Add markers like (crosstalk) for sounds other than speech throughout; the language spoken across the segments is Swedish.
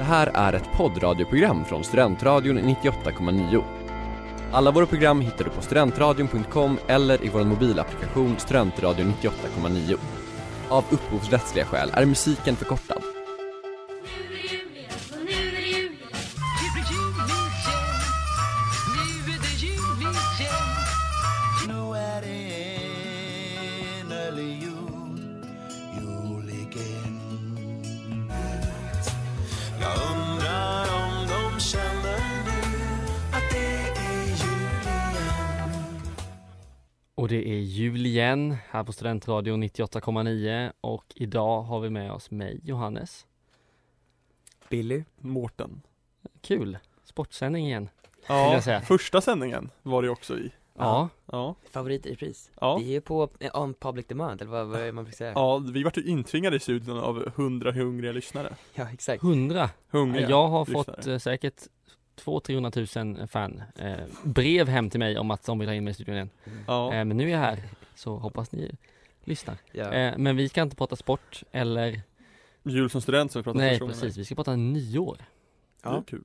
här är ett poddradioprogram från Studentradion 98,9. Alla våra program hittar du på studentradion.com eller i vår mobilapplikation Studentradion 98,9. Av upphovsrättsliga skäl är musiken förkortad. Och det är jul igen här på Studentradion 98,9 och idag har vi med oss mig, Johannes. Billy. Mårten. Kul! Sportsändning igen. Vill Ja, jag säga. första sändningen var det också i. Ja, Ja, Favorit i repris. ja. Vi är ju på eh, on public demand, eller vad, vad är det man brukar säga? Ja, vi vart ju intvingade i studion av hundra hungriga lyssnare. Ja, exakt. 100. Hungriga. Jag har lyssnare. fått eh, säkert 200-300 000 fan eh, brev hem till mig om att de vill ha in mig i studion igen. Ja. Eh, men nu är jag här, så hoppas ni lyssnar. Ja. Eh, men vi ska inte prata sport eller, Jul som student som vi pratade om nej första gången. precis, vi ska prata nyår. Det är kul.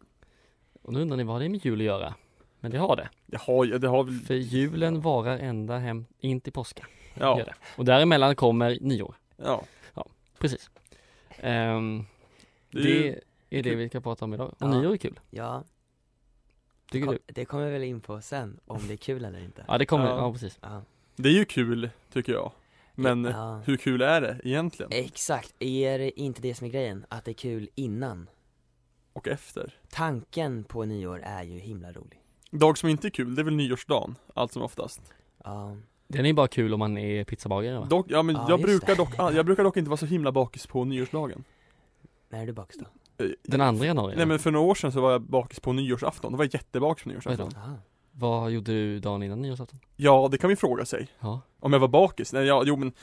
Och nu undrar ni vad det är med jul att göra? Men det har det. Det har, det har väl, För julen varar ända hem in till påsken. ja. Gör det. Och däremellan kommer nyår. ja. Precis. Ehm, Det är det ju- är det kul. vi ska prata om idag. Och Ja. nyår är kul, ja. tycker Kom, du? det kommer vi väl in på sen, om det är kul eller inte. Ja det kommer, ja, Ja. precis. Ja. Det är ju kul, tycker jag. Men ja. Eh. hur kul är det egentligen? Exakt, är det inte det som är grejen? Att det är kul innan? Och efter? Tanken på nyår är ju himla rolig. Dag som inte är kul, det är väl nyårsdagen, allt som oftast. Ja, Den är bara kul om man är pizzabagare va? Dock, ja men Ja, jag just brukar det. dock, ah, jag brukar dock inte vara så himla bakis på nyårsdagen. när är du bakis då? Eh, Den andra januari? Nej men för några år sedan så var jag bakis på nyårsafton, då var jag jättebakis på nyårsafton. Aha. Vad gjorde du dagen innan nyårsafton? Ja, det kan vi fråga sig. Ja. Om jag var bakis? Nej, ja, jo men,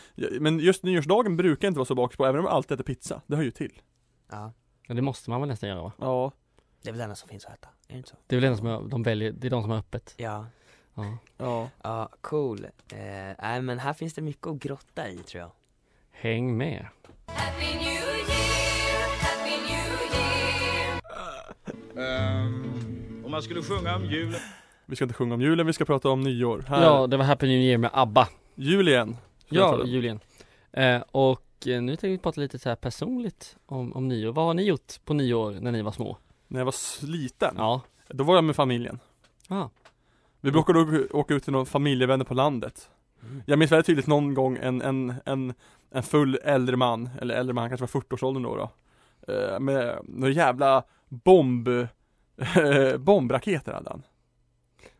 men just nyårsdagen brukar jag inte vara så bakis på, även om jag alltid äter pizza. Det hör ju till. Ja, ja, det måste man väl nästan göra va? Ja, det är väl det enda som finns att äta, är det inte så? Det är väl det enda som jag, de väljer, det är de som har öppet. Ja, Ja. ja. ja cool. Eh, nej men här finns det mycket att grotta i tror jag. Häng med! Happy New Year, Happy New Year. Ehm, Om man skulle sjunga om julen Vi ska inte sjunga om julen, vi ska prata om nyår. Här, Ja, det var Happy New Year med ABBA. jul igen. Ska jag Ja, ta den? Julian. Eh, och eh, nu tänkte vi prata lite så här personligt om, om nyår. Vad har ni gjort på nyår när ni var små? När jag var sliten, Ja. då var jag med familjen. Ah. Ja. Vi brukade åka- åka ut till några familjevänner på landet. Mm. Jag minns väldigt tydligt någon gång en, en, en, en full äldre man, eller äldre man, han kanske var 40-årsåldern då då. eh, Med några jävla bomb, eh, bombraketer hade han.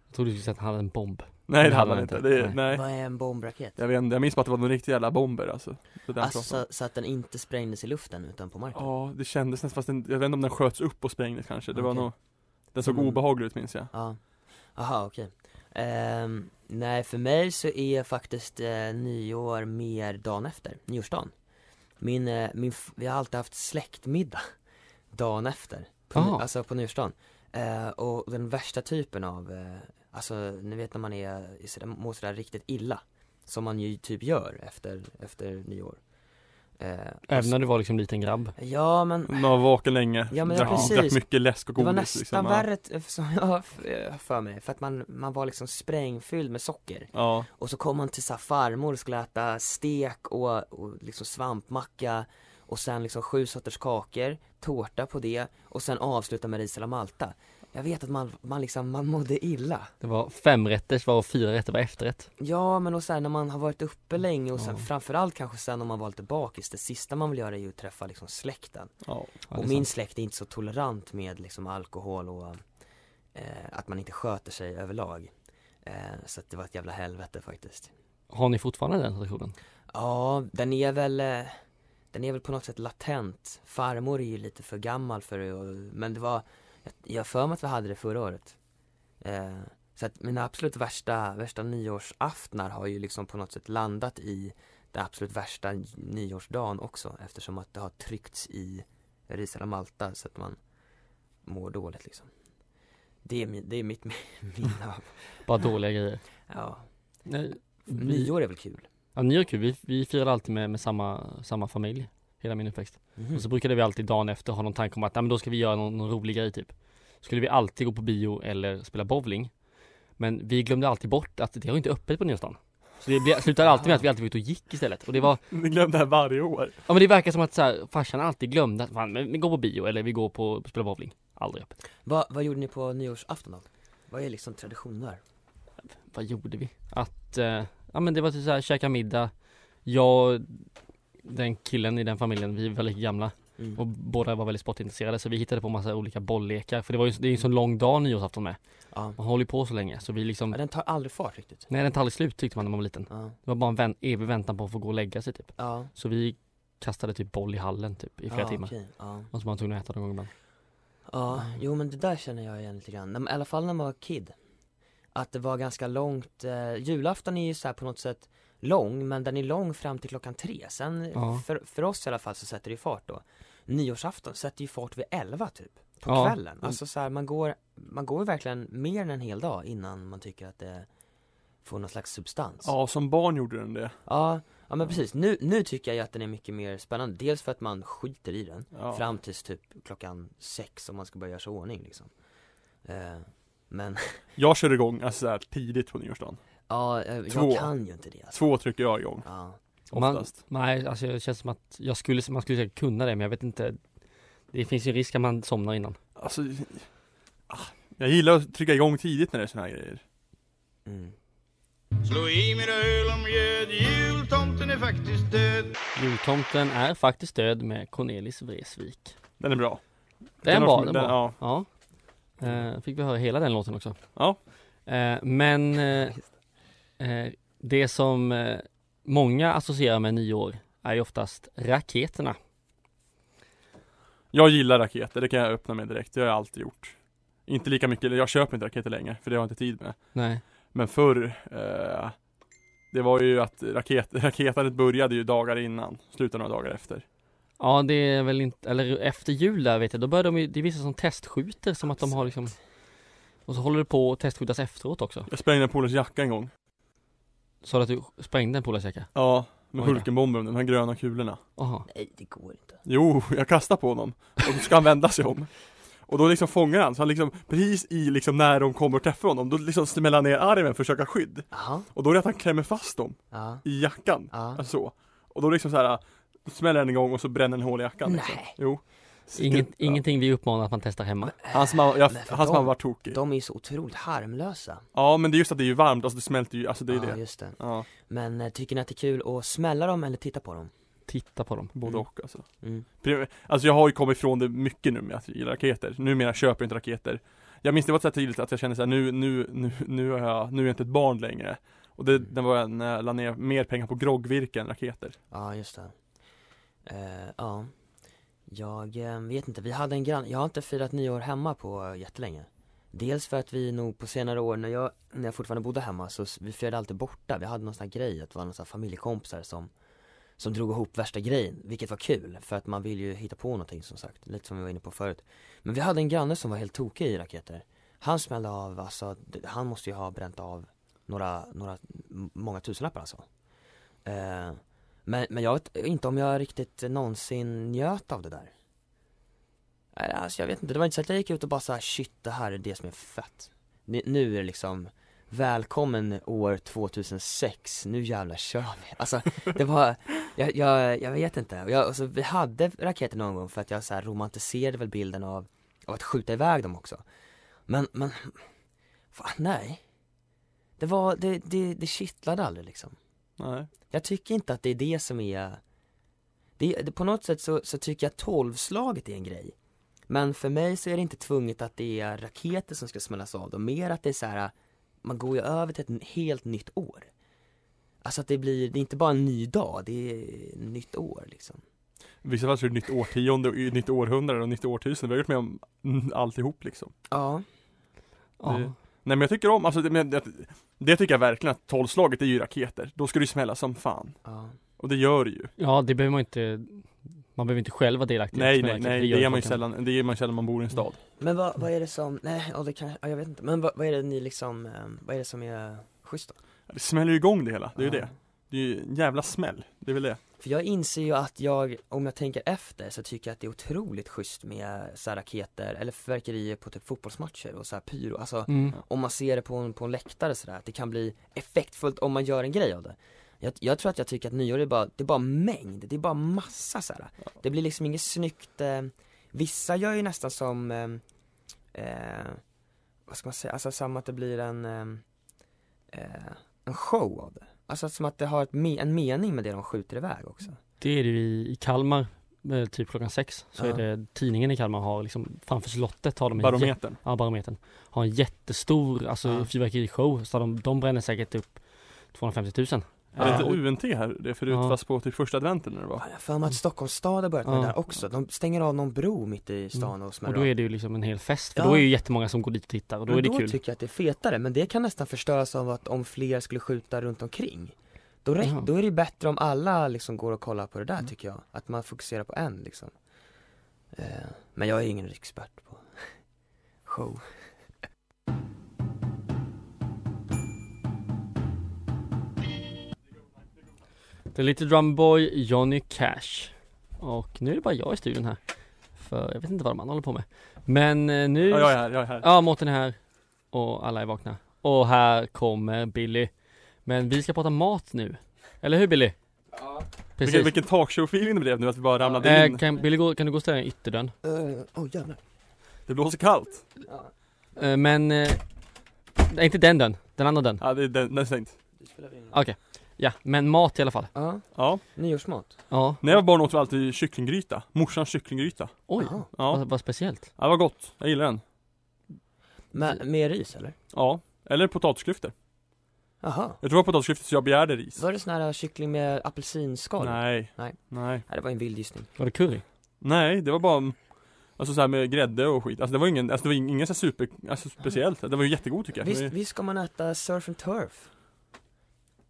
Jag trodde du skulle säga att han hade en bomb. Nej det hade han inte, det, Nej. nej. Vad är en bombraket? Jag vet inte, jag minns bara att det var någon riktig jävla bomber alltså. Det där Alltså alltså... så, så att den inte sprängdes i luften utan på marken? Ja, det kändes nästan, fast den, jag vet inte om den sköts upp och sprängdes kanske. Det var Okej. Mm. nog Den såg Som en- obehaglig ut minns jag. Ja, aha okej Ehm, Nej för mig så är faktiskt eh, nyår mer dagen efter, nyårsdagen Min, eh, min, f- vi har alltid haft släktmiddag (laughs) dagen efter, på, ny- Aha. alltså på nyårsdagen Eh, Och den värsta typen av, eh, alltså ni vet när man är, i sådär, mår sådär riktigt illa Som man ju typ gör efter, efter nyår Eh, Även när du var liksom liten grabb. Ja men Man var vaken länge, Ja, men ja, drack, precis. drack mycket läsk och Det godis var nästan liksom. Ja. värre, t- (laughs) som jag har f- eh, för mig, för att man, man var liksom sprängfylld med socker Ja, Och så kom man till så här farmor och skulle äta stek och, och liksom svampmacka Och sen liksom sju sorters kakor, tårta på det och sen avsluta med ris eller malta Jag vet att man, man liksom, man mådde illa Det var fem rätter var och fyra rätter var efterrätt. Ja men och sen när man har varit uppe länge och sen Ja. framförallt kanske sen om man var lite bakis, det sista man vill göra är ju att träffa liksom släkten ja. Ja, det och är min sant. släkt är inte så tolerant med liksom alkohol och eh, att man inte sköter sig överlag. Eh, så att det var ett jävla helvete faktiskt. Har ni fortfarande den traditionen? Ja, den är väl, eh, den är väl på något sätt latent. Farmor är ju lite för gammal för det, och- men det var, jag- jag har för mig att vi hade det förra året. Eh, så att mina absolut värsta, värsta nyårsaftnar har ju liksom på något sätt landat i den absolut värsta nyårsdagen också eftersom att det har tryckts i ris eller malta så att man mår dåligt liksom. Det är, min, det är mitt (laughs) minne av, Bara dåliga grejer. Mm. ja. Nej, vi, Nyår är väl kul? ja, nyår är kul. Vi, vi firar alltid med, med samma, samma familj. Hela min uppväxt. Mhm. Och så brukade vi alltid dagen efter ha någon tanke om att, "Nej, men då ska vi göra någon, någon rolig grej typ. Skulle vi alltid gå på bio eller spela bowling. Men vi glömde alltid bort att det har ju inte öppet på nyårsdagen. Så det blev- slutade alltid med att vi alltid var ute och gick istället. Och det var, Ni glömde det här varje år. ja men det verkar som att så här, farsan alltid glömde att, fan men vi går på bio eller vi går på, spela bowling. Aldrig öppet. Vad, vad gjorde ni på nyårsafton då? Vad är liksom traditionen där? vad gjorde vi? Att, eh, ja men det var typ såhär, käka middag Jag, och den killen i den familjen, vi var lika gamla Mm. och båda var väldigt sportintresserade så vi hittade på massa olika bolllekar för det var ju, det är ju en sån lång dag nyårsafton med ja. Man håller ju på så länge så vi liksom ja, den tar aldrig fart riktigt Nej den tar aldrig slut tyckte man när man var liten Ja, Det var bara en vän, evig väntan på att få gå och lägga sig typ ja. Så vi kastade typ boll i hallen typ i flera ja, timmar okej. Ja. Och så var man tvungen att äta någon gång ibland ja, jo men det där känner jag igen lite grann, När man- i alla fall när man var kid Att det var ganska långt, eh, julafton är ju så här på något sätt lång, men den är lång fram till klockan tre Sen, Ja. för, för oss i alla fall så sätter det ju fart då Nyårsafton sätter ju fart vid elva typ, på Ja. Mm. kvällen Alltså så här, man går, man går ju verkligen mer än en hel dag innan man tycker att det får någon slags substans Ja, som barn gjorde den det. Ja, ja men precis. Nu, nu tycker jag ju att den är mycket mer spännande. Dels för att man skiter i den Ja. fram tills typ klockan sex om man ska börja göra sig i ordning liksom. Eh, men, (laughs) Jag kör igång alltså så här, tidigt på nyårsdagen. ja, eh, jag Två. kan ju inte det alltså. Två trycker jag igång, Ja, man, oftast. Nej alltså det känns som att jag skulle, man skulle säkert kunna det men jag vet inte Det finns ju en risk att man somnar innan Alltså, ah, jag gillar att trycka igång tidigt när det är såna här grejer. mm. Slå i mina öl om mjöd, jultomten är faktiskt död Jultomten är faktiskt död med Cornelis Vreeswijk Den är bra. Den har- var, den var Ja. Ja Eh, Fick vi höra hela den låten också Ja. Eh, Men eh, eh, Det som eh, många associerar med nyår är ju oftast raketerna Jag gillar raketer, det kan jag öppna med direkt. Det har jag alltid gjort. Inte lika mycket, eller jag köper inte raketer längre, för det har jag inte tid med. Nej Men förr, eh, det var ju att raket, (laughs) raketandet började ju dagar innan, slutade några dagar efter. Ja det är väl inte, eller efter jul där vet jag, då börjar de ju, det är vissa som testskjuter som att de har liksom Och så håller det på att testskjutas efteråt också Jag sprängde en polares jacka en gång. Sa du att du sprängde en polares jacka? Ja, med Oj då. Hulkenbomben, de här gröna kulorna. Jaha Nej, det går inte. Jo, jag kastar på honom. Och då ska han vända sig om. Och då liksom fångar han, så han liksom precis i liksom när de kommer och träffar honom, då liksom smäller han ner armen för att försöka skydd. Jaha, Och då är det att han klämmer fast dem ja, i jackan. ja. Alltså så. Och då liksom så här då smäller han en gång och så bränner han hål i jackan. Liksom. Nej. Jo. Inget, Ja. Ingenting vi uppmanar att man testar hemma Hans mamma, jag, Men för hans dem- mamma var tokig. De är ju så otroligt harmlösa. Ja men det är just att det är ju varmt, alltså det smälter ju, alltså det är ja, det. just det. Ja, Men eh, tycker ni att det är kul att smälla dem eller titta på dem? Titta på dem både Mm. och alltså. Mm. Prim- Alltså jag har ju kommit ifrån det mycket nu med att jag gillar raketer. Numera köper jag inte raketer. Jag minns det var så här tidigt att jag kände så här, nu, nu, nu, nu, har jag, nu är jag inte ett barn längre. Och det, den var jag när jag la ner mer pengar på groggvirke än raketer. Ja, just det. Eh, ja. Jag eh, vet inte, vi hade en grann, jag har inte firat nyår hemma på eh, jättelänge. Dels för att vi nog på senare år, när jag, när jag fortfarande bodde hemma, så s- vi firade alltid borta. Vi hade någon sån här grej, att det var någon sån här familjekompisar som, som drog ihop värsta grejen, vilket var kul, för att man vill ju hitta på någonting som sagt, lite som vi var inne på förut. Men vi hade en granne som var helt tokig i raketer. Han smällde av, alltså, d- han måste ju ha bränt av några, några, m- många tusenlappar alltså. Eh, men, men jag vet inte om jag riktigt någonsin njöt av det där Nej, Alltså jag vet inte, det var inte så att jag gick ut och bara såhär shit det här är det som är fett Nu, nu är det liksom Välkommen år 2006, nu jävlar kör vi! Alltså det var, (laughs) jag, jag, jag vet inte, Och jag, alltså, vi hade raketer någon gång för att jag så här romantiserade väl bilden av, av att skjuta iväg dem också Men, men, fan nej Det var, det, det, det kittlade aldrig liksom Nej. jag tycker inte att det är det som är det, det, På något sätt så, så tycker jag tolvslaget är en grej Men för mig så är det inte tvunget att det är raketer som ska smällas av dem, mer att det är så här. Man går ju över till ett helt nytt år Alltså att det blir, det är inte bara en ny dag, det är nytt år liksom I vissa fall så är det nytt årtionde, och nytt århundrade och nytt årtusende. Vi har gjort med om mm, alltihop liksom. Ja, Ja, Det- Nej men jag tycker om, alltså det, men det, det tycker jag verkligen att tolvslaget är ju raketer. Då ska det ju smälla som fan. ja, Och det gör det ju. ja det behöver man inte Man behöver inte själv vara delaktig i att Nej spela nej raketer. nej, gör det är man ju folk sällan, det är man ju sällan man bor i en stad. Men vad, vad är det som, nej, ja det kanske, ja, jag vet inte, men vad, vad är det ni liksom, eh, vad är det som är schysst då? Det smäller ju igång det hela, det är ju Ja. det. Det är ju en jävla smäll, det är väl det. För jag inser ju att jag, om jag tänker efter, så tycker jag att det är otroligt schysst med så här raketer eller fyrverkerier på typ fotbollsmatcher och så här pyro, alltså Mm. om man ser det på en, på en läktare sådär, att det kan bli effektfullt om man gör en grej av det jag, jag tror att jag tycker att nyår är bara, det är bara mängd, det är bara massa såhär Det blir liksom inget snyggt, eh, vissa gör ju nästan som, eh, eh, vad ska man säga, alltså som att det blir en, eh, eh, en show av det Alltså som att det har ett, me- en mening med det de skjuter iväg också Det är det ju i, i Kalmar, eh, typ klockan sex, så Ja. är det tidningen i Kalmar har liksom, framför slottet har de en jä- Barometern. ja, barometern, har en jättestor alltså Ja. fyrverkerishow, så de, de bränner säkert upp 250 000 Är det Eh, och- inte UNT här det förut Ja. fast på typ första adventen eller vad? Fan, Jag har för mig att Stockholms stad har börjat med Ja. det där också, de stänger av någon bro mitt i stan och Och smäller då av. är det ju liksom en hel fest, för Ja. då är ju jättemånga som går dit och tittar och då Men är det då kul tycker jag att det är fetare, men det kan nästan förstöras av att om fler skulle skjuta runt omkring Då, räck, Jaha. då är det bättre om alla liksom går och kollar på det Mm. där tycker jag, att man fokuserar på en liksom eh, Men jag är ingen expert på (laughs) show Det är lite drumboy Johnny Cash Och nu är det bara jag i studion här För jag vet inte vad de andra håller på med Men eh, nu Ja, jag är här, jag är här. Ja, Mårten är här och alla är vakna. Och här kommer Billy. Men vi ska prata mat nu. Eller hur Billy? Ja. Precis. Vilken, vilken talkshow-feeling det blev nu att vi bara ramlade Eh, in. kan, Billy, gå, kan du gå och ställa dig i ytterdörren? Åh uh, oh, jävlar Det blåser kallt. Eh, men... Eh, nej, inte den dörren. Den andra dörren. Ja, det, den, den är stängt. Okej. Ja, men mat i alla fall. Ja, Ja. nyårsmat Ja. När jag var barn åt vi alltid kycklinggryta. Morsans kycklinggryta. Oj, Jaha. Ja. vad, vad speciellt. ja, det var gott. Jag gillar den. med, med ris eller? Ja. Eller potatisklyftor. Jaha, Jag tror det var potatisklyftor så jag begärde ris. var det sån här kyckling med apelsinskal? Nej. Nej. Nej. Nej, det var en vild gissning Var det curry? Nej, det var bara Alltså såhär med grädde och skit. Alltså det var ingen, alltså det var ingen så här super, alltså speciellt. Det var ju jättegod tycker jag. visst, Det var visst ska man äta surf and turf?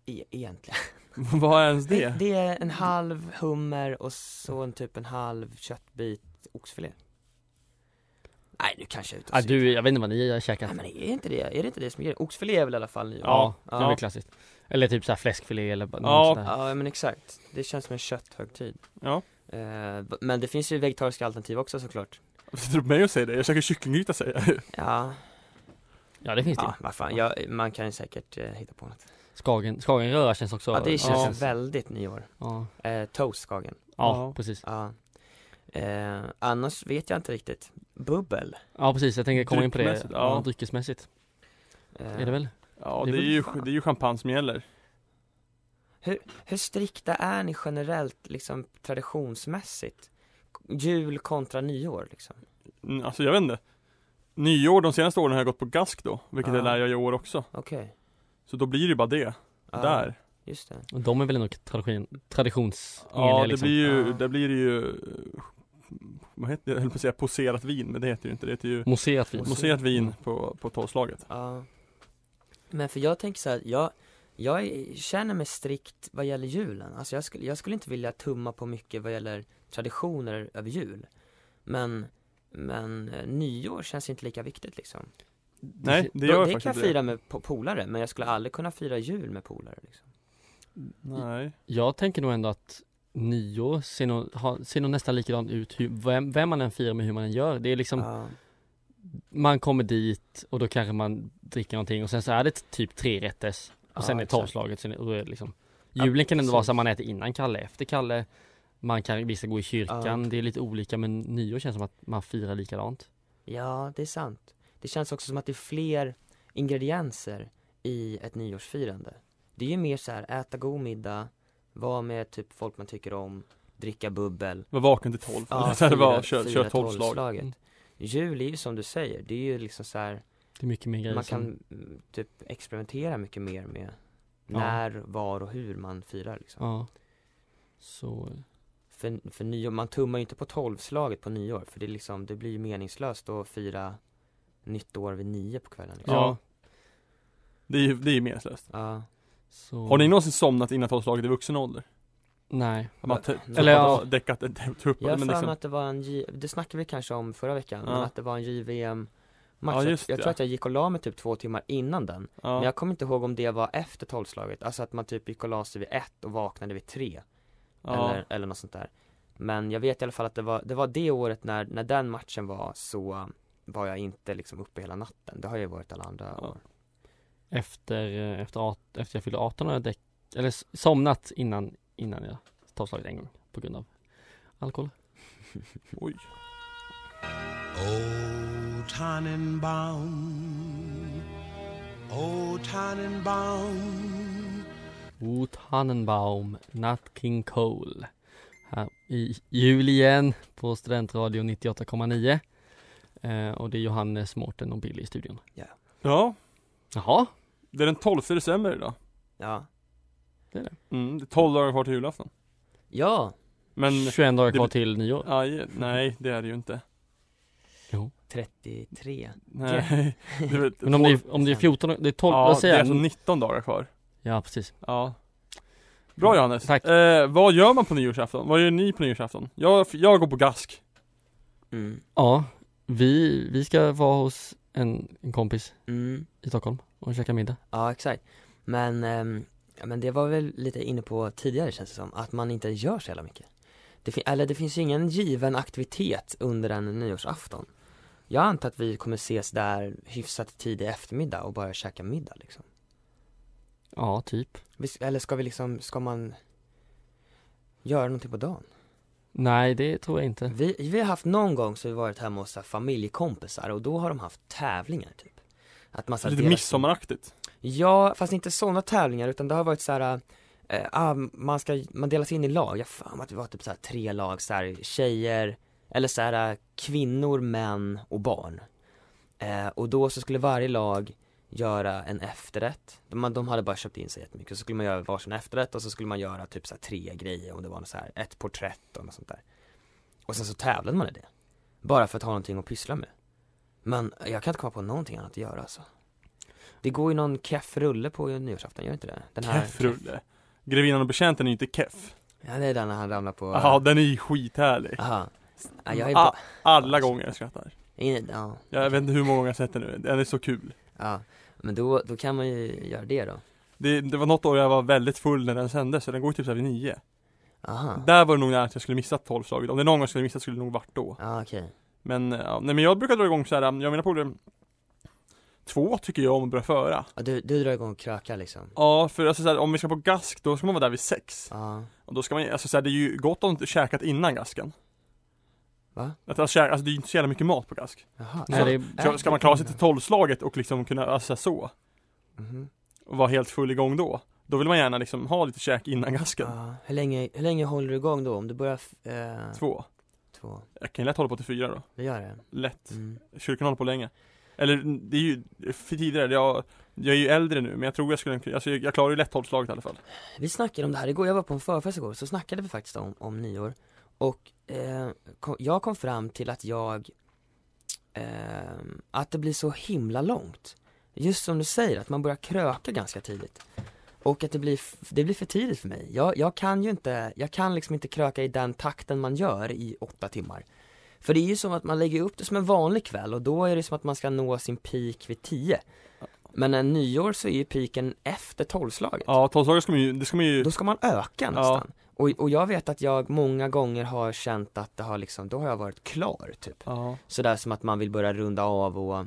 E- egentligen ju- (laughs) Vad är ens Det, det? det är en halv hummer och så en typ en halv köttbit oxfilé Nej nu kanske jag är ute och Ah, cyklar. du, jag vet inte vad ni har käkat. Nej men är inte det, är det inte det som är grejen? Oxfilé är väl i alla fall nyår? Ja, Ja. det var klassiskt. Eller typ såhär fläskfilé eller bara Ja. något sånt där. Ja men exakt, det känns som en kötthögtid Ja. Eh, b- Men det finns ju vegetariska alternativ också såklart Sitter du på mig och säger det? Jag käkar kycklinggryta säger jag. Ja, Ja, det finns det ju. ja vad fan, jag, man kan ju säkert eh, hitta på något Skagen, Skagenröra känns också. Ja det känns Ja. väldigt nyår Ja, eh, Toast Skagen, ja Ja. precis. ja eh, Annars vet jag inte riktigt, bubbel Ja precis, jag tänker komma in på det. Dryckmässigt, ja. Ja. Dryckesmässigt eh, är det väl? Ja, Det det är är väl ju, fan. det är ju champagne som gäller. Hur strikta är ni generellt, liksom traditionsmässigt? Jul kontra nyår liksom? Mm, Alltså jag vet inte. Nyår de senaste åren har jag gått på gask då, vilket Ja. jag lär jag i år också. Okej, Så då blir det ju bara det, Ja, där. just det Och De är väl ändå tradition, traditionsenliga Ja, det liksom. blir ju, Ja. där blir det ju, eh, vad heter det, jag höll på att säga poserat vin, men det heter det ju inte. Det heter ju Moserat vin. Mos- moserat vin på, på tolvslaget. Ja Men för jag tänker så här, jag, jag är- känner mig strikt vad gäller julen Alltså jag skulle, jag skulle inte vilja tumma på mycket vad gäller traditioner över jul Men, men eh, nyår känns inte lika viktigt liksom Nej, det gör Då- jag Det faktiskt kan jag inte fira med po- polare, men jag skulle aldrig kunna fira jul med polare liksom Nej. Jag tänker nog ändå att nyår ser nog, har- ser nog nästan likadant ut hur, vem, vem man än firar med hur man än gör. Det är liksom, Ja. man kommer dit och då kanske man dricker någonting och sen så är det typ tre rätters och sen Ja, är exakt. tolvslaget, sen är, och då är det liksom Ja, Julen kan ändå vara precis. så att man äter innan Kalle, efter Kalle Man kan, vissa går i kyrkan, Ja. det är lite olika men nyår känns som att man firar likadant Ja, det är sant. Det känns också som att det är fler ingredienser i ett nyårsfirande. Det är ju mer så här, äta god middag, vara med typ folk man tycker om, (laughs) dricka bubbel. Var vaken till tolv. (laughs) Ja, det var, kör, kör tolvslag. tolvslaget. Mm. Jul är ju som du säger, det är ju liksom så här, Det är mycket mer grejer man som- kan mm, typ experimentera mycket mer med Ja. när, var och hur man firar liksom. Ja Så För, för nyår, man tummar ju inte på tolvslaget på nyår, för det är liksom, det blir ju meningslöst att fira nytt år vid nio på kvällen liksom. Ja. Det är ju, det är ju meningslöst. Ja. Så Har ni nåånsin somnat innan tolvslaget i vuxen ålder? Nej Att Man t- Nej. Eller eller ja. ja. Däckat, däckat, Jag har men för mig liksom. att det var en, J- det snackade vi kanske om förra veckan, Ja. men att det var en JVM match. Ja, jag just jag det. tror att jag gick och la mig typ två timmar innan den. Men Ja, jag kommer inte ihåg om det var efter tolvslaget, alltså att man typ gick och la sig vid ett och vaknade vid tre. ja, Eller, eller något sånt där. Men jag vet i alla fall att det var, det var det året när, när den matchen var så var jag inte liksom uppe hela natten. Det har jag ju varit alla andra Ja. år. Efter, eh, efter, at- efter jag fyllde 18 har jag däck, eller s- somnat innan, innan jag tolvslaget en gång på grund av alkohol. oj O Tannenbaum, O Tannenbaum, O Tannenbaum, Nat King Cole. Här i jul igen på Studentradio 98,9. Eh, och det är Johannes, Mårten och Billy i studion. Ja, Jaha, det är den 12 december idag Ja. mm, det är 12 dagar kvar till julafton Ja! Men, 21 dagar det kvar bet- till nyår. aj, nej det är det ju inte 33. Nej, (laughs) det är väl Men om det, 12 är, om det är 14, det är 12, Ja, vad det är säger alltså jag? 19 dagar kvar Ja, precis. Ja Bra Johannes! Tack. Eh, vad gör man på nyårsafton? Vad gör ni på nyårsafton? Jag, jag går på gask Mm. Ja, vi, vi ska vara hos en, en kompis Mm. i Stockholm och käka middag. Ja, exakt. Men, ehm, ja, men det var väl lite inne på tidigare känns det som, att man inte gör så jävla mycket. Det fin- eller det finns ju ingen given aktivitet under en nyårsafton. Jag antar att vi kommer ses där hyfsat tidig eftermiddag och bara käka middag liksom. Ja, typ. Visst- Eller ska vi liksom, ska man göra någonting på dagen? Nej, det tror jag inte. Vi, vi har haft någon gång så vi varit hemma hos så här familjekompisar och då har de haft tävlingar typ. Att man så här Lite delar- midsommaraktigt Ja, fast inte sådana tävlingar utan det har varit så här. Eh, ah, man ska, man delas in i lag, jag fan att det var typ så här tre lag så här, tjejer, eller så här eh, kvinnor, män och barn eh, Och då så skulle varje lag göra en efterrätt, de, de hade bara köpt in sig jättemycket, så skulle man göra varsin efterrätt och så skulle man göra typ så här tre grejer om det var något så här, ett porträtt och något sånt där Och sen så tävlade man i det, bara för att ha någonting att pyssla med Men jag kan inte komma på någonting annat att göra alltså det går ju någon keff rulle på nyårsaften, gör det inte det? Den här- Keffrulle Grevinnan och betjänten är ju inte keff Ja det är den när han ramlar på... Jaha, den är ju skithärlig Aha. Ja, jag är Ah. bara... Alla gånger jag skrattar In, ja, Jag vet inte hur många gånger jag har sett den nu, den är så kul ja. Men då, då kan man ju göra det då. det, det var något år jag var väldigt full när den sändes, så den går ju typ såhär vid nio Aha. Där var det nog nära att jag skulle missa tolvslaget, om det är någon gång jag skulle missa skulle det nog varit då Ja okej. Men, eh, ja, nej men jag brukar dra igång såhär, jag och mina polare Två tycker jag om att börja föra Ja, Du, du drar igång och krökar liksom? Ja, för alltså såhär, om vi ska på gask då ska man vara där vid sex Ja. Och då ska man, alltså såhär, det är ju gott om käkat innan gasken Va? Att alltså, käka- alltså det är ju inte så jävla mycket mat på gask Jaha. Nej, Så- det är- Ska, ska man klara sig till tolvslaget och liksom kunna, alltså så Mhm. Och vara helt full igång då Då vill man gärna liksom ha lite käk innan gasken Ja. Hur länge, hur länge håller du igång då? Om du börjar... f- Eh, Två två. Jag kan ju lätt hålla på till fyra då, Du gör det? lätt Mm. Kyrkan håller på länge. Eller det är ju för tidigare, jag, jag är ju äldre nu men jag tror jag skulle kunna- alltså jag, jag klarar ju lätt tolvslaget i alla fall. Vi snackade om det här igår, jag var på en förfest igår, så snackade vi faktiskt om, om nyår Och eh, kom, jag kom fram till att jag eh, Att det blir så himla långt Just som du säger, att man börjar kröka ganska tidigt Och att det blir, f- det blir för tidigt för mig jag, jag kan ju inte, jag kan liksom inte kröka i den takten man gör i åtta timmar För det är ju som att man lägger upp det som en vanlig kväll och då är det som att man ska nå sin peak vid tio Men en nyår så är ju piken efter tolvslaget Ja, tolvslaget ska man ju, det ska man ju, då ska man öka nästan. Och, och jag vet att jag många gånger har känt att det har liksom, då har jag varit klar typ. ja, Sådär som att man vill börja runda av och,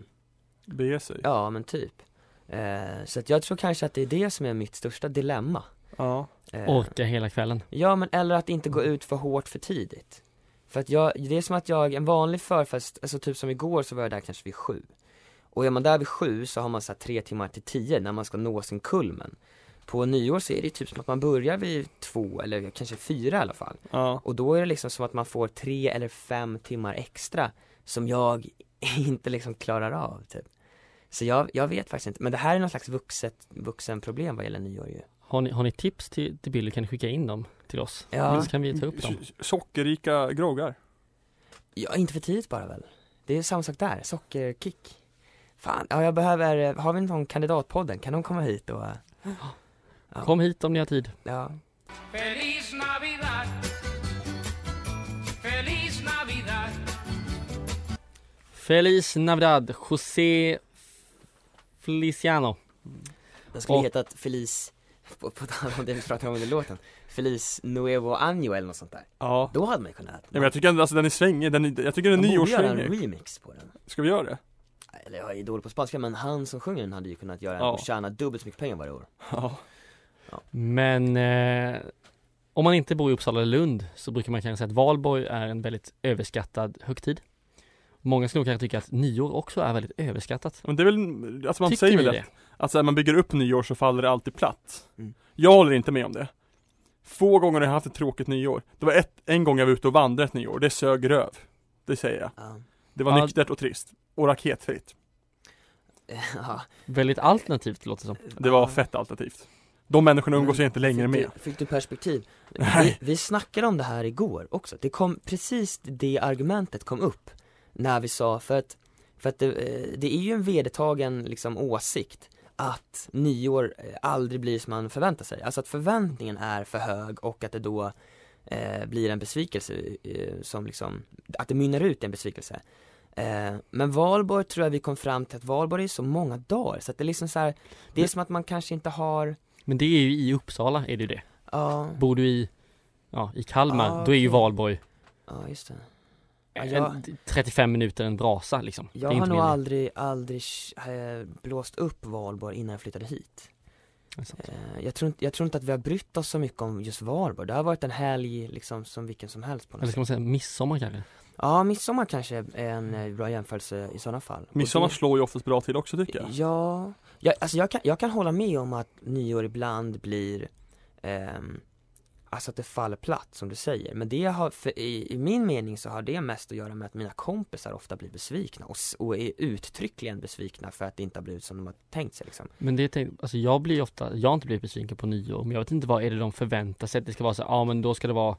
bege sig. Ja. ja men typ. Eh, så att jag tror kanske att det är det som är mitt största dilemma. Eh, Orka hela kvällen. Ja men eller att inte gå ut för hårt för tidigt. För att jag, det är som att jag, en vanlig förfest, alltså typ som igår så var jag där kanske vid sju. Och är man där vid sju så har man så här tre timmar till tio när man ska nå sin kulmen. På nyår så är det typ som att man börjar vid två eller kanske fyra i alla fall. ja. Och då är det liksom som att man får tre eller fem timmar extra som jag (laughs) inte liksom klarar av typ. Så jag, jag vet faktiskt inte, men det här är någon slags vuxet, vuxenproblem vad gäller nyår ju. Har ni, har ni tips till, till Billy kan ni skicka in dem till oss. Ja. Så kan vi ta upp dem. S- Sockerrika groggar. Ja, inte för tidigt bara väl? Det är samma sak där, sockerkick. Fan, ja jag behöver, eh, har vi någon kandidatpodden? Kan de komma hit och, eh, Kom hit om ni har tid. ja, Feliz Navidad. Feliz Navidad. Feliz Navidad, José Feliciano Den skulle Och- hetat Feliz, på, på tal om det vi pratade om under låten Feliz Nuevo Año eller något sånt där Ja. Då hade man ju kunnat ja men jag tycker ändå, alltså den är svängig, den är, jag tycker den är Man borde göra en nyårssvängig remix på den Ska vi göra det? Eller jag är dålig på spanska men han som sjunger den hade ju kunnat göra en Ja. och tjäna dubbelt så mycket pengar varje år Ja Men eh, om man inte bor i Uppsala eller Lund så brukar man kanske säga att valborg är en väldigt överskattad högtid Många skulle nog kanske tycka att nyår också är väldigt överskattat Men det är väl, alltså man Tycker säger ni väl det? det? att så här, Alltså, man bygger upp nyår så faller det alltid platt Mm. Jag håller inte med om det Få gånger har jag haft ett tråkigt nyår Det var ett, en gång jag var ute och vandrade ett nyår, det sög röv Det säger jag Ja, Det var Ja. nyktert och trist Och raketfritt (laughs) ja. Väldigt alternativt låter det som Det var fett alternativt De människorna umgås jag inte längre fick med du, fick du perspektiv? Vi, Nej. vi snackade om det här igår också, det kom, precis det argumentet kom upp När vi sa, för att, för att det, eh, det är ju en vedertagen liksom åsikt Att nyår eh, aldrig blir som man förväntar sig, alltså att förväntningen är för hög och att det då eh, blir en besvikelse eh, som liksom, att det mynnar ut i en besvikelse Eh, men valborg tror jag vi kom fram till att valborg är så många dagar så att det är liksom så här, det är som att man kanske inte har, Men det är ju i Uppsala är det ju det ja Bor du i, ja, i Kalmar, Ah, då är ju okej. valborg Ja just det. Ja, en, jag- 35 minuter en brasa liksom Det är Jag inte har nog meningen. aldrig, aldrig eh, blåst upp valborg innan jag flyttade hit. Det Alltså, är sant. Eh, Jag tror, inte- jag tror inte att vi har brytt oss så mycket om just valborg. Det har varit en helg liksom som vilken som helst på Eller något ska sätt. man säga midsommar kanske? Ja, midsommar kanske är en eh, bra jämförelse i sådana fall. Och Midsommar det- slår ju oftast bra till också tycker jag Ja, jag, alltså jag kan, jag kan hålla med om att nyår ibland blir ehm, Alltså att det faller platt som du säger, men det har, för i, i min mening så har det mest att göra med att mina kompisar ofta blir besvikna och, s- och är uttryckligen besvikna för att det inte har blivit som de har tänkt sig liksom Men det tänk, alltså jag blir ofta, jag har inte blivit besviken på nyår men jag vet inte vad är det de förväntar sig att det ska vara så, ja ah, men då ska det vara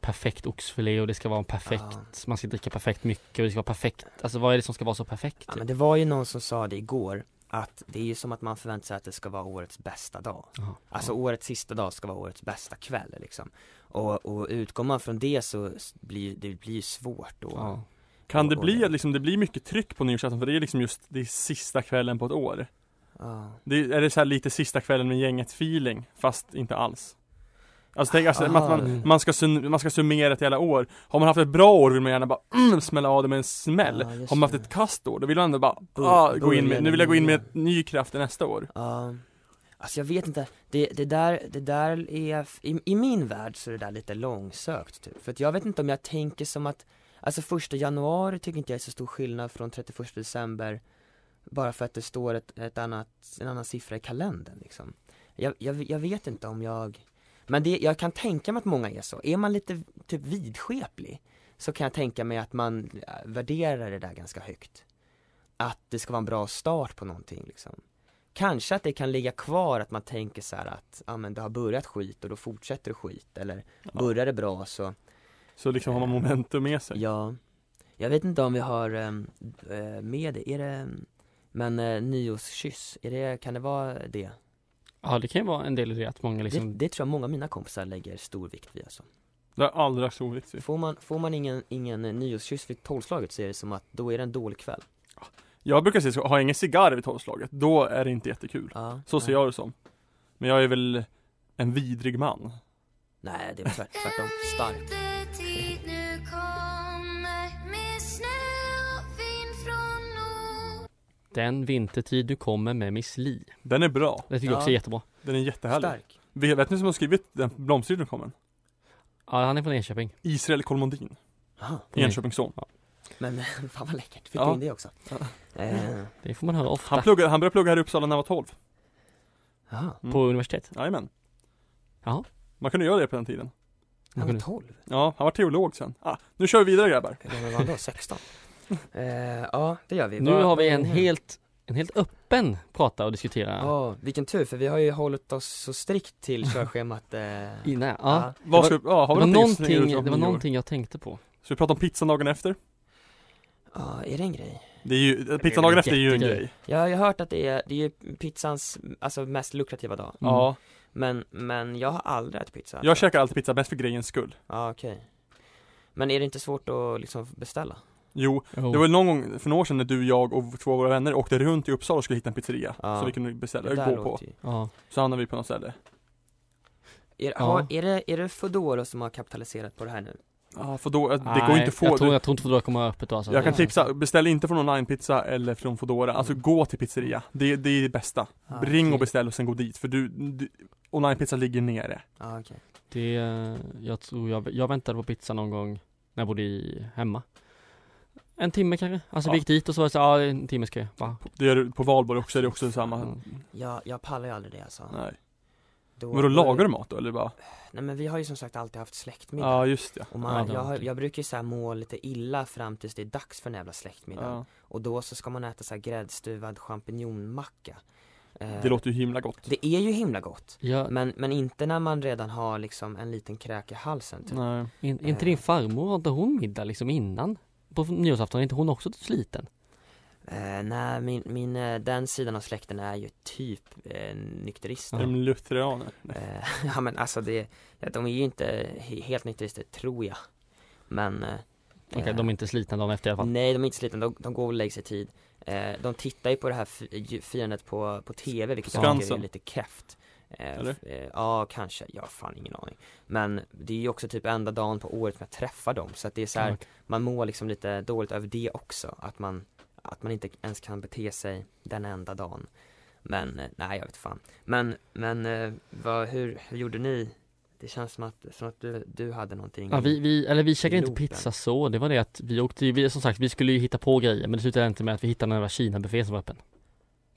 perfekt oxfilé och det ska vara en perfekt, Ja. man ska dricka perfekt mycket och det ska vara perfekt, alltså vad är det som ska vara så perfekt? Ja men det var ju någon som sa det igår att det är ju som att man förväntar sig att det ska vara årets bästa dag Jaha, Alltså årets sista dag ska vara årets bästa kväll liksom Och, och utgår man från det så s- blir det blir ju svårt då ja. Kan det och- bli och- att liksom, det blir mycket tryck på nyårsafton för det är liksom just Det är sista kvällen på ett år Ja. Det är, är det så här lite sista kvällen med gänget feeling, fast inte alls Alltså tänk alltså, att Aha. man, man, ska sum, man ska summera ett jävla år Har man haft ett bra år vill man gärna bara mm, smälla av det med en smäll Ja, just Har man det. haft ett kasst år, då vill man ändå bara Bo- ah, gå in börja med, nu vill jag gå in nya. med ny kraft i nästa år Ja, alltså jag vet inte, det, det där, det där är, f- i, i min värld så är det där lite långsökt typ. För att jag vet inte om jag tänker som att, alltså första januari tycker inte jag är så stor skillnad från 31 december Bara för att det står ett, ett annat, en annan siffra i kalendern liksom jag, jag, jag vet inte om jag Men det, jag kan tänka mig att många är så, är man lite typ vidskeplig Så kan jag tänka mig att man eh, värderar det där ganska högt Att det ska vara en bra start på någonting liksom Kanske att det kan ligga kvar att man tänker så här att, ja men det har börjat skit och då fortsätter det skit eller börjar det bra så, Så liksom har man momentum med sig ja Jag vet inte om vi har ehm, eh, med det, är det, ehm, men eh, nyårskyss, är det, kan det vara det? ja det kan ju vara en del i det att många liksom, det? Det tror jag många av mina kompisar lägger stor vikt vid alltså Det är allra så viktigt Får man, får man ingen, ingen eh, nyårskyss vid tolvslaget så är det som att då är det en dålig kväll Jag brukar säga så, har jag ingen cigarr vid tolvslaget, då är det inte jättekul ja, Så ser jag det som Men jag är väl en vidrig man Nej det är tvärt, tvärtom, stark Vintertid nu kommer med snö och vind från nord. den vintertid du kommer med Miss Li. Den är bra, Det tycker jag också Ja. är jättebra. den är jättehärlig Stark, Vet vet ni som har skrivit den blomstertiteln kommer? Ja han är från Enköping. Israel Kolmondin, Aha, Mm. Enköpingsson men (laughs) fan vad läckert, fick Ja. du in det också? Eh, Det får man höra ofta. Han, pluggade, han började plugga här i Uppsala när han var 12 aha, mm. På universitet. Jajamän Jaha. Man kunde göra det på den tiden Man han var kunde- tolv Ja, han var teolog sen ah, Nu kör vi vidare grabbar Hur gammal var han då? 16? Eh, ja, det gör vi. Nu Vad- har vi vad- en helt, en helt öppen prata och diskutera. Ja, vilken tur för vi har ju hållit oss så strikt till körschemat. Eh, Innan, ja. ja. Vad Det ska, ja, har Det vi var, någonting som hänger någonting, ut det var om nyår? någonting jag tänkte på. Ska vi prata om pizzan dagen efter? Ja, är det en grej? Det är ju, eh, pizzan dagen efter är ju en jättegrej. grej Jag har ju hört att det är, det är ju pizzans, alltså mest lukrativa dag. Mm. Ja, Men, men jag har aldrig ätit pizza. jag käkar alltid pizza mest för grejens skull Ja, okej. Men är det inte svårt att liksom beställa? Jo, det var väl någon gång för några år sedan när du, jag och två av våra vänner åkte runt i Uppsala och skulle hitta en pizzeria Ja. Så vi kunde beställa, Det där gå på låter ju- Ja. Så hamnade vi på något ställe Är, Ja. har, är, det, är det Foodora som har kapitaliserat på det här nu? Ja, för då, det går Nej, inte att få jag tror, jag, jag tror inte Foodora kommer att ha öppet då alltså. jag kan Ja. tipsa, beställ inte från onlinepizza eller från Foodora Alltså gå till pizzeria, det, det är det bästa Ah, Ring Mm. okej. och beställ och sen gå dit, för du, du onlinepizza ligger nere Ja, okej. Det, eh, jag tror jag, jag väntade på pizza någon gång när jag bodde i, hemma. En timme kanske. Alltså Ja. vi gick dit och så var det så, ja det är en timmes kö. Va? Det gör du på valborg också, är det också samma Mm. Jag, jag pallar ju aldrig det alltså. Nej. Men då lagar du mat då eller bara? Nej men vi har ju som sagt alltid haft släktmiddag. Ja just ja, Och Ja, man, det jag, har har, typ. varit- jag brukar ju så här må lite illa fram tills det är dags för den jävla släktmiddagen. ja. Och då så ska man äta så här gräddstuvad champinjonmacka. Eh, Det låter ju himla gott det är ju himla gott. Ja, Men, men inte när man redan har liksom en liten kräk i halsen typ. Nej. in, är inte din farmor, har inte hon middag liksom innan? På nyårsafton, är inte hon också sliten? Eh, nej, min, min, eh, den sidan av släkten är ju typ eh, nykterister. Är de lutheraner? Nej. Eh, (laughs) ja men alltså det, ja, de är ju inte he- helt nykterister tror jag. Men eh, Okej, eh, de är inte slitna dagen efter i alla fall. Nej, de är inte slitna, de, de går och lägger sig i tid eh, De tittar ju på det här fi- ju- firandet på, på TV, vilket jag tycker är Skansen. lite kräft eh, Eller? f- eh, Ja, kanske, jag har fan ingen aning Men det är ju också typ enda dagen på året när jag träffar dem, så att det är så här, Ja, okej. man mår liksom lite dåligt över det också, att man, att man inte ens kan bete sig den enda dagen Men, eh, nej jag vet fan Men, men eh, vad, hur, hur gjorde ni? Det känns som att, som att du, du hade någonting Ja, ah, vi, vi, eller vi käkade inte Loopen. pizza så, det var det att vi åkte ju- vi, som sagt vi skulle ju hitta på grejer men det slutade inte med att vi hittade den där Kina-buffén som var öppen.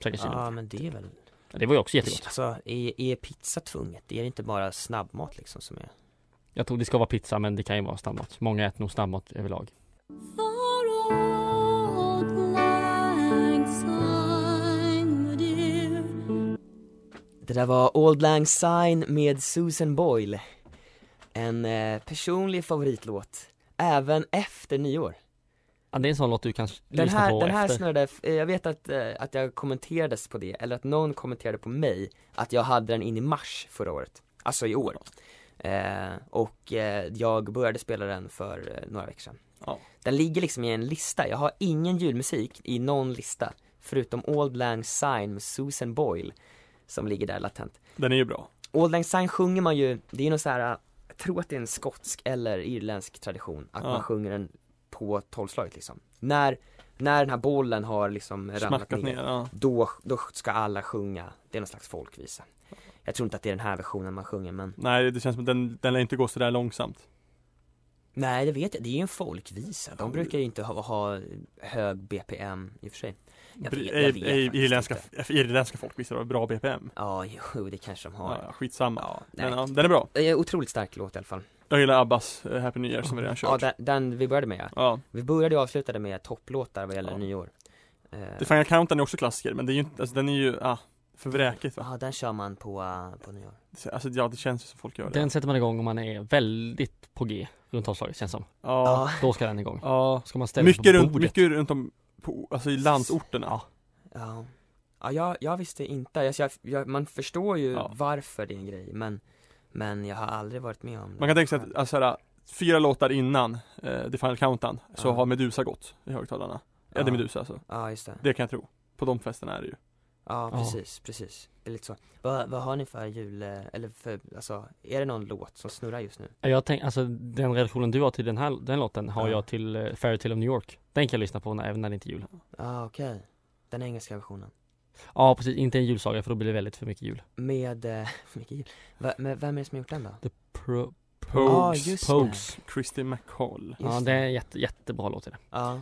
Käkade Kina. Ja men det är väl Det var ju också jättegott. Alltså, är, är pizza tvunget? Är det inte bara snabbmat liksom som är? Jag tror det ska vara pizza men det kan ju vara snabbmat. Många äter nog snabbmat överlag. Det där var Old Lang Syne med Susan Boyle En eh, personlig favoritlåt, även efter nyår Ja, det är en sån låt du kan Den lyssna på här, den här efter. snurrade, eh, jag vet att, eh, att jag kommenterades på det, eller att någon kommenterade på mig Att jag hade den in i mars förra året, alltså i år eh, Och eh, jag började spela den för eh, några veckor sedan Ja. Den ligger liksom i en lista, jag har ingen julmusik i någon lista Förutom Old Lang Syne med Susan Boyle Som ligger där latent Den är ju bra Old Lang Syne sjunger man ju, det är någon så här, jag tror att det är en skotsk eller irländsk tradition Att Ja. man sjunger den på tolvslaget liksom När, när den här bollen har liksom ramlat Smackat ner, ner, ja. Då, då ska alla sjunga, det är någon slags folkvisa Jag tror inte att det är den här versionen man sjunger men Nej det känns som att den, den lär inte gå sådär långsamt Nej det vet jag, det är ju en folkvisa, Ja, de brukar ju inte ha, ha hög BPM i och för sig Jag vet- jag Br- vet eh, eh, faktiskt Irländska, inte. irländska folkvisor har bra BPM Ja, jo det kanske de har ja, ja, Skitsamma Ja, nej. Men ja, den är bra Eh, Otroligt stark låt i alla fall Jag gillar Abbas eh, Happy New Year som vi redan Ja kört den, den vi började med ja. Ja, Vi började och avslutade med topplåtar vad gäller Ja. nyår eh, The Final Countdown är också klassiker men det är ju inte, alltså den är ju, ah, för vräkigt va Ja den kör man på, eh, på nyår Alltså ja, det känns ju som folk gör det Den sätter man igång om man är väldigt på G runt tolvslaget känns som. Ja, Då ska den igång. ja Ska man ställa sig Mycket på runt, bordet. mycket runt om, på, alltså i landsorterna Ja. Ja, ja jag, jag visste inte, jag, jag, jag, man förstår ju Ja. varför det är en grej men Men jag har aldrig varit med om det Man kan tänka sig att, alltså, såhär, fyra låtar innan eh, The Final Countdown så Ja. har Medusa gått i högtalarna Ja, det är Medusa alltså Ja just det, Det kan jag tro. På de festerna är det ju. ja Ja. precis, precis, det är lite så Vad, vad har ni för jul, eh, eller för, alltså, är det någon låt som snurrar just nu? Ja, Jag tänk, alltså den relationen du har till den här den låten har Ja. jag till eh, Fairytale of New York. Den kan jag lyssna på när, även när det inte är jul. Ja ah, okej, den engelska versionen Ja precis, inte en julsaga för då blir det väldigt för mycket jul. Med, eh, (laughs) mycket jul, Va, men vem är det som har gjort den då? The pro, Pogues. Ja, just det. Pogues. Christy McCall. Ja Just det Eh. är en jätte, jättebra låt i det. Ja,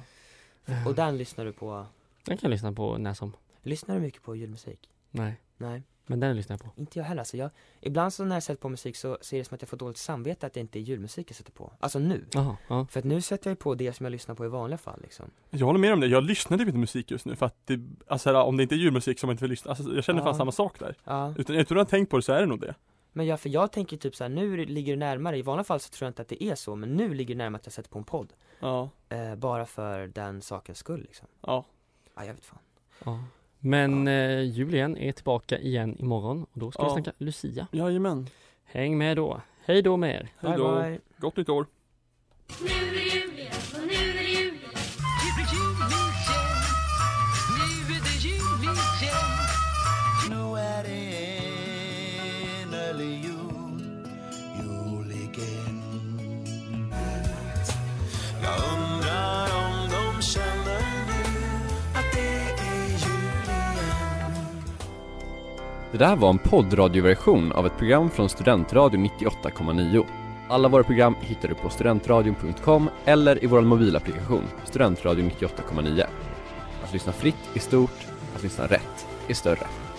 och den lyssnar du på, Den kan jag lyssna på när som. lyssnar du mycket på julmusik? Nej, Nej men den lyssnar jag på. Inte jag heller alltså, jag, ibland så när jag sätter på musik så ser det som att jag får dåligt samvete att det inte är julmusik jag sätter på, alltså nu Jaha, ja. För att nu sätter jag ju på det som jag lyssnar på i vanliga fall liksom Jag håller med om det. Jag lyssnar typ inte musik just nu för att det, alltså här, om det inte är julmusik så man inte vill lyssna. Alltså, jag känner fan Ja. samma sak där. Ja, Utan, utan att ha tänkt på det så är det nog det. men jag, för jag tänker typ såhär, nu ligger det närmare, i vanliga fall så tror jag inte att det är så, men nu ligger det närmare att jag sätter på en podd Ja. eh, Bara för den sakens skull liksom, Ja. ja jag vet fan ja. Men eh, Julian är tillbaka igen imorgon och då ska vi Ja. snacka Lucia. Jajamän. Häng med då. Hej då med er. Hej Bye, då. bye. Gott nytt år. Nu är det jul igen, och nu är det jul igen. um, Det där var en poddradioversion av ett program från Studentradion 98,9. Alla våra program hittar du på studentradion.com eller i vår mobilapplikation Studentradion 98,9. Att lyssna fritt är stort, att lyssna rätt är större.